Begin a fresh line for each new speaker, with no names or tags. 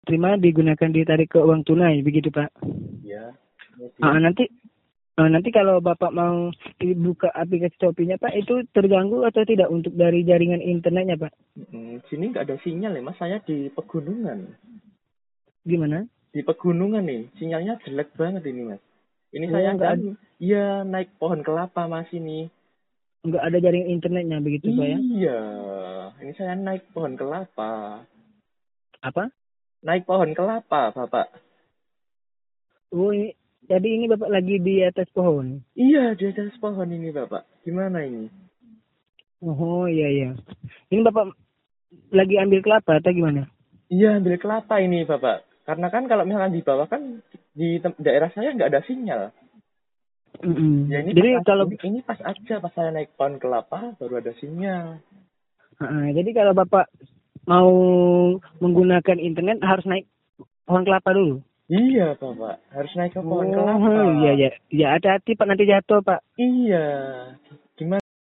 diterima digunakan ditarik ke uang tunai begitu pak
Ya.
Ah, nanti ah, nanti kalau bapak mau buka aplikasi Shopee-nya pak itu terganggu atau tidak untuk dari jaringan internetnya pak
Mm, Sini nggak ada sinyal ya, Mas. Saya di pegunungan.
gimana
Di pegunungan nih, sinyalnya jelek banget ini, Mas. Ini
Oh,
saya
nggak
kan iya naik pohon kelapa, Mas ini.
nggak ada jaringan internetnya begitu pak ya
Iya. Ini saya naik pohon kelapa.
apa
Naik pohon kelapa, Bapak.
oh ini jadi ini bapak lagi di atas pohon
Iya, di atas pohon ini, Bapak. Gimana ini?
oh iya iya ini bapak lagi ambil kelapa atau gimana
Iya, ambil kelapa ini, Bapak. Karena kan kalau misalkan di bawah kan di tem- daerah saya nggak ada sinyal.
Mm-mm.
Ya ini
jadi
pas-
kalau
ini, ini pas aja pas saya naik pohon kelapa baru ada sinyal.
Ah, jadi kalau bapak mau menggunakan internet harus naik pohon kelapa dulu
Iya, Bapak. Harus naik ke pohon
Oh,
kelapa.
Iya, iya. Ya hati-hati Pak nanti jatuh Pak.
Iya,